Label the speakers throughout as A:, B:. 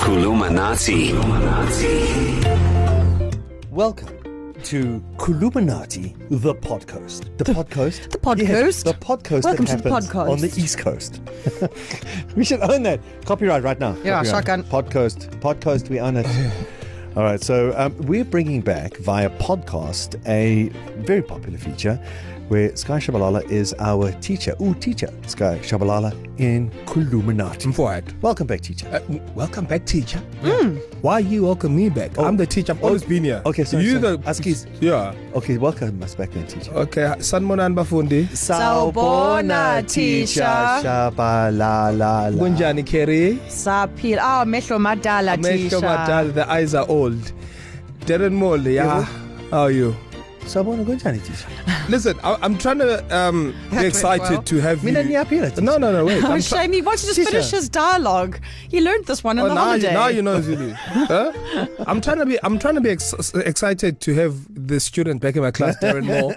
A: Kulumanati.
B: Welcome to Kuluminati, the podcast. The, podcast.
C: the podcast.
B: Yes, the podcast.
C: Welcome
B: that
C: to the
B: happens
C: podcast.
B: on the East Coast. we should own that copyright right now.
C: Yeah,
B: Copyright.
C: shotgun.
B: Podcast. Podcast. We own it. All right, so um, we're bringing back via podcast a very popular feature where Sky Shabalala is our teacher. Ooh, teacher, Sky Shabalala in Kuluminati.
D: Forward.
B: Welcome back, teacher.
D: Uh, w- welcome back, teacher. Why you welcome me back? I'm the teacher. I've always been here.
B: Hmm. Oh, okay, sorry,
D: you
B: sorry.
D: the
B: Ask his-
D: Yeah.
B: Okay, welcome us back then, teacher.
D: Okay. Sanmonan Bafundi.
C: Sawubona, teacher.
B: Shabalala.
D: Gunjani Kerry.
C: Saphila. Ah, mehlo madala
D: Mehlo
C: teacher.
D: madala, The eyes are old. Darren Molly. Yeah. How are you?
B: Sawubona kunjani teacher?
D: Listen, I, I'm trying to um,
C: went
D: be excited
C: well.
D: to have
B: Mina
D: you.
B: niyaphila, teacher.
D: No, no, no. Wait.
C: Oh,
D: I'm try-
C: shame. He wants to just
B: Teacher.
C: finish his dialogue. He learned this one on
D: Oh,
C: the
D: now you,
C: holiday.
D: now you know Zulu. huh? I'm trying to be I'm trying to be ex- excited to have the student back in my class, Darren Moore,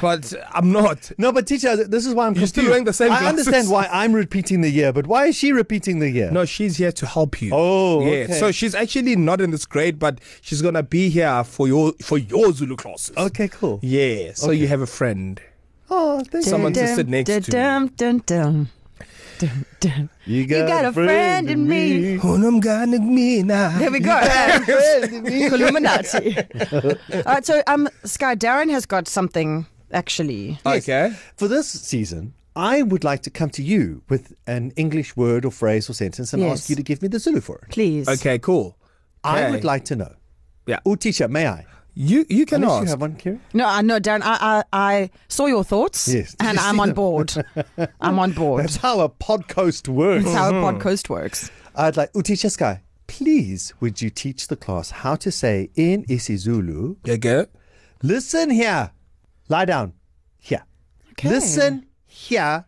D: but I'm not.
B: No, but teacher, th- this is why I'm
D: You're
B: confused.
D: still wearing the same
B: I
D: glasses.
B: understand why I'm repeating the year, but why is she repeating the year?
D: No, she's here to help you.
B: Oh,
D: yeah.
B: okay.
D: So she's actually not in this grade, but she's gonna be here for your for your Zulu classes.
B: Okay, cool.
D: Yeah. So you have a friend.
B: Oh, thank you.
D: Someone- to sit next to me.
C: dum, dum, dum. Dum, dum.
B: You
C: got a friend in me. There
D: There
C: we go. Illuminati. All right, so um, Sky Darren has got something actually.
D: Okay.
B: For this season, I would like to come to you with an English word or phrase or sentence and
C: Yes.
B: ask you to give me the Zulu for it.
C: Please.
D: Okay. Cool.
B: I
D: Okay.
B: would like to know.
D: Yeah.
B: Oh, teacher, may I?
D: You you can
B: Unless
D: ask.
B: you have one, Kira?
C: No, I know, Darren. I, I I saw your thoughts,
B: Yes. Did
C: and
B: you
C: I'm
B: see
C: on
B: them?
C: board. I'm on board.
B: That's how a podcast works.
C: That's how
D: Mm-hmm.
C: a podcast works.
B: I'd like, Utisha Sky, please would you teach the class how to say in isiZulu,
D: Yeah, go.
B: listen here, lie down here.
C: Okay.
B: Listen here,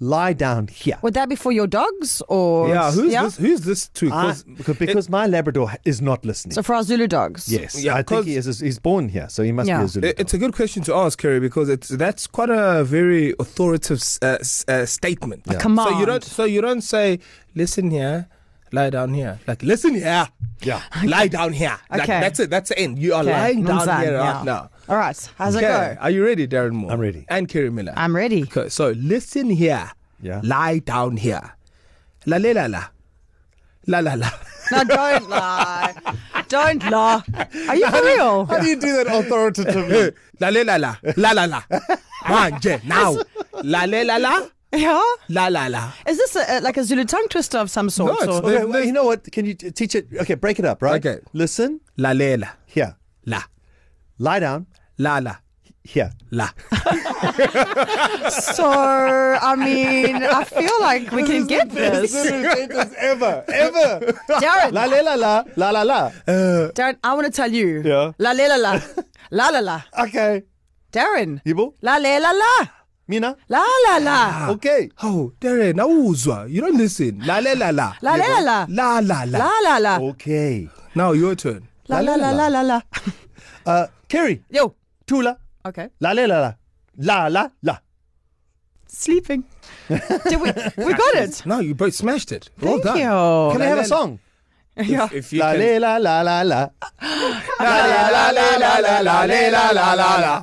B: lie down here.
C: Would that be for your dogs or
D: Yeah. Who's this? Who's this to?
B: I,
D: 'Cause-
B: because because my Labrador ha- is not listening.
C: So for our Zulu dogs.
B: yes.
D: Yeah,
B: I think
D: 'cause-
B: he is, he's born here, so he must be
C: Yeah.
B: a Zulu.
D: It- It's a good question to ask, Kerry, because it's that's quite a very authoritative s- uh, s- uh, statement.
C: A command.
D: So you don't. So you don't say, "Listen here, lie down here." Like, listen here,
B: yeah.
D: lie down here. Like,
C: Okay.
D: that's it. That's the end. You are
C: Okay,
D: lying down
C: Nomzan,
D: here
C: yeah.
D: right now.
C: All right. How's
D: Okay.
C: it go?
D: Are you ready, Darren Moore?
B: I'm ready.
D: And Kerry Miller.
C: I'm ready.
D: okay. So listen here.
B: Yeah.
D: Lie down here. La la la la. La la la.
C: No, don't lie. Don't lie. Are you for real?
B: How do you do that authoritatively?
D: La la la la. La la la. Manje, now. La la la la.
C: Yeah.
D: La la la.
C: Is this a, a- like a Zulu tongue twister of some sort?
D: No, it's
C: or-
D: the-
B: okay, well, you know what? Can you t- teach it? Okay, break it up, right?
D: Okay.
B: Listen
D: La la la.
B: here,
D: La.
B: lie down
D: La la.
B: here.
D: La.
C: so I mean, I feel like we can get this.
B: sentence ever, ever.
C: Darren,
B: La la la la la la la.
D: Uh,
C: Darren, I want to tell you.
B: Yeah.
C: La la la la. La la la.
B: Okay.
C: Darren.
B: Yebo?
C: La la la la.
B: Mina?
C: La la la.
B: Okay.
D: Oh, Darren, awuzwa. You don't listen. La la la la.
C: La la la la.
D: La la la.
C: La
B: Ah.
C: la la.
B: Okay.
D: Now your turn.
C: La la la la la la.
B: Uh, Kerry,
C: Yo.
B: Tula,
C: Okay.
B: la la la la, la la la.
C: Sleeping. Did we? We got it.
D: No, you both smashed it. well
C: Thank
D: done.
C: you.
B: Can we
D: La,
B: have
D: la,
B: a song?
C: Yeah.
D: If you
B: La
D: can.
B: la la la la la.
D: La la la la la la la la la la la.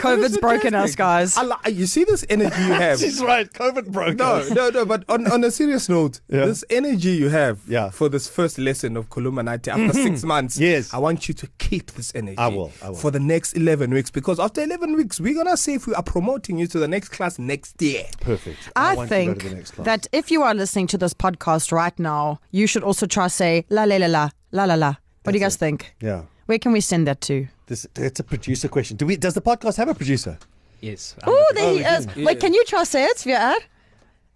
C: COVID's broken us, guys.
D: I li- You see this energy you have.
B: right. COVID broke.
D: No, no, no. But on, on a serious note,
B: Yeah.
D: this energy you have
B: Yeah. Mm-hmm.
D: for this first lesson of Kulumanati after six months,
B: Yes.
D: I want you to keep this energy.
B: I will, I will.
D: for the next eleven weeks because after eleven weeks, we're gonna see if we are promoting you to the next class next year.
B: Perfect.
C: I
B: want to go to
C: think
B: the next class.
C: that if you are listening to this podcast right now, you should also try say la la la la la la la. What do you guys think?
B: Yeah.
C: Where can we send that to?
B: This it's a producer question. Do we? Does the podcast have a producer?
E: Yes. I'm
C: Oh,
E: the-
C: there he is. Wait, can you try say it, Vier?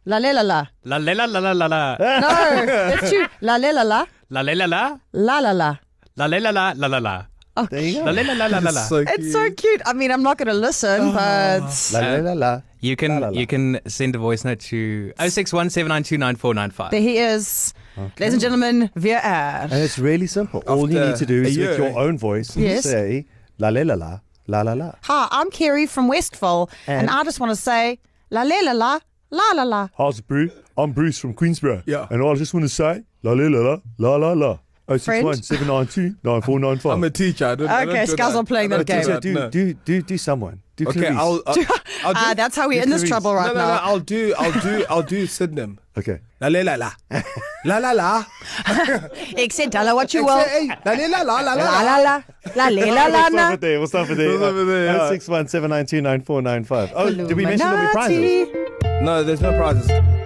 C: La la la la.
E: La la la la la la la
C: No, that's you. La la la la
E: la la la la
C: la la la.
E: la la la la la la la
B: There you go.
E: la la la la la la.
D: So
C: It's so cute. I mean, I'm not going to listen, but
B: La la la la.
E: You
B: La,
E: can
B: la, la.
E: you can send a voice note to 0617929495.
C: there he is, ladies and gentlemen, Vier.
B: And it's really simple. All you
D: After
B: need to do
D: a
B: is
D: year.
B: with your own voice
C: Yes.
B: say la la la la la la la.
C: Hi, I'm Kerry from Westville, and,
B: And-
C: I just want to say la la la la la La la la.
B: How's it, Bruce? I'm Bruce from Queensborough.
D: Yeah.
B: And I just want to say, la la la la, la Oh la la. 061
C: French?
B: 792 9495.
D: I'm a teacher. I don't, I don't
C: Okay,
D: do
C: Skaz
D: that.
C: are playing
D: I
C: that
D: don't
C: game.
D: do
B: So do,
D: no.
B: do, do, do someone. Do
D: Okay,
B: Clarice.
D: I'll, I'll, I'll do.
C: Ah, that's how we're in this
B: Clarice.
C: trouble
D: no,
C: right
D: no, no,
C: now.
D: I'll do. I'll do. I'll do Sydenham.
B: Okay.
D: La la la la la la la.
C: Except tell her what you will.
D: Hey, la la la la la
C: La
D: la.
C: la la. La la la la
B: We'll stop
C: la.
B: it there. We'll stop it there.
D: We'll stop it there, yeah.
B: 061 792 9495. Oh, did we Oh, mention there'll be prizes?
D: No, there's no prizes.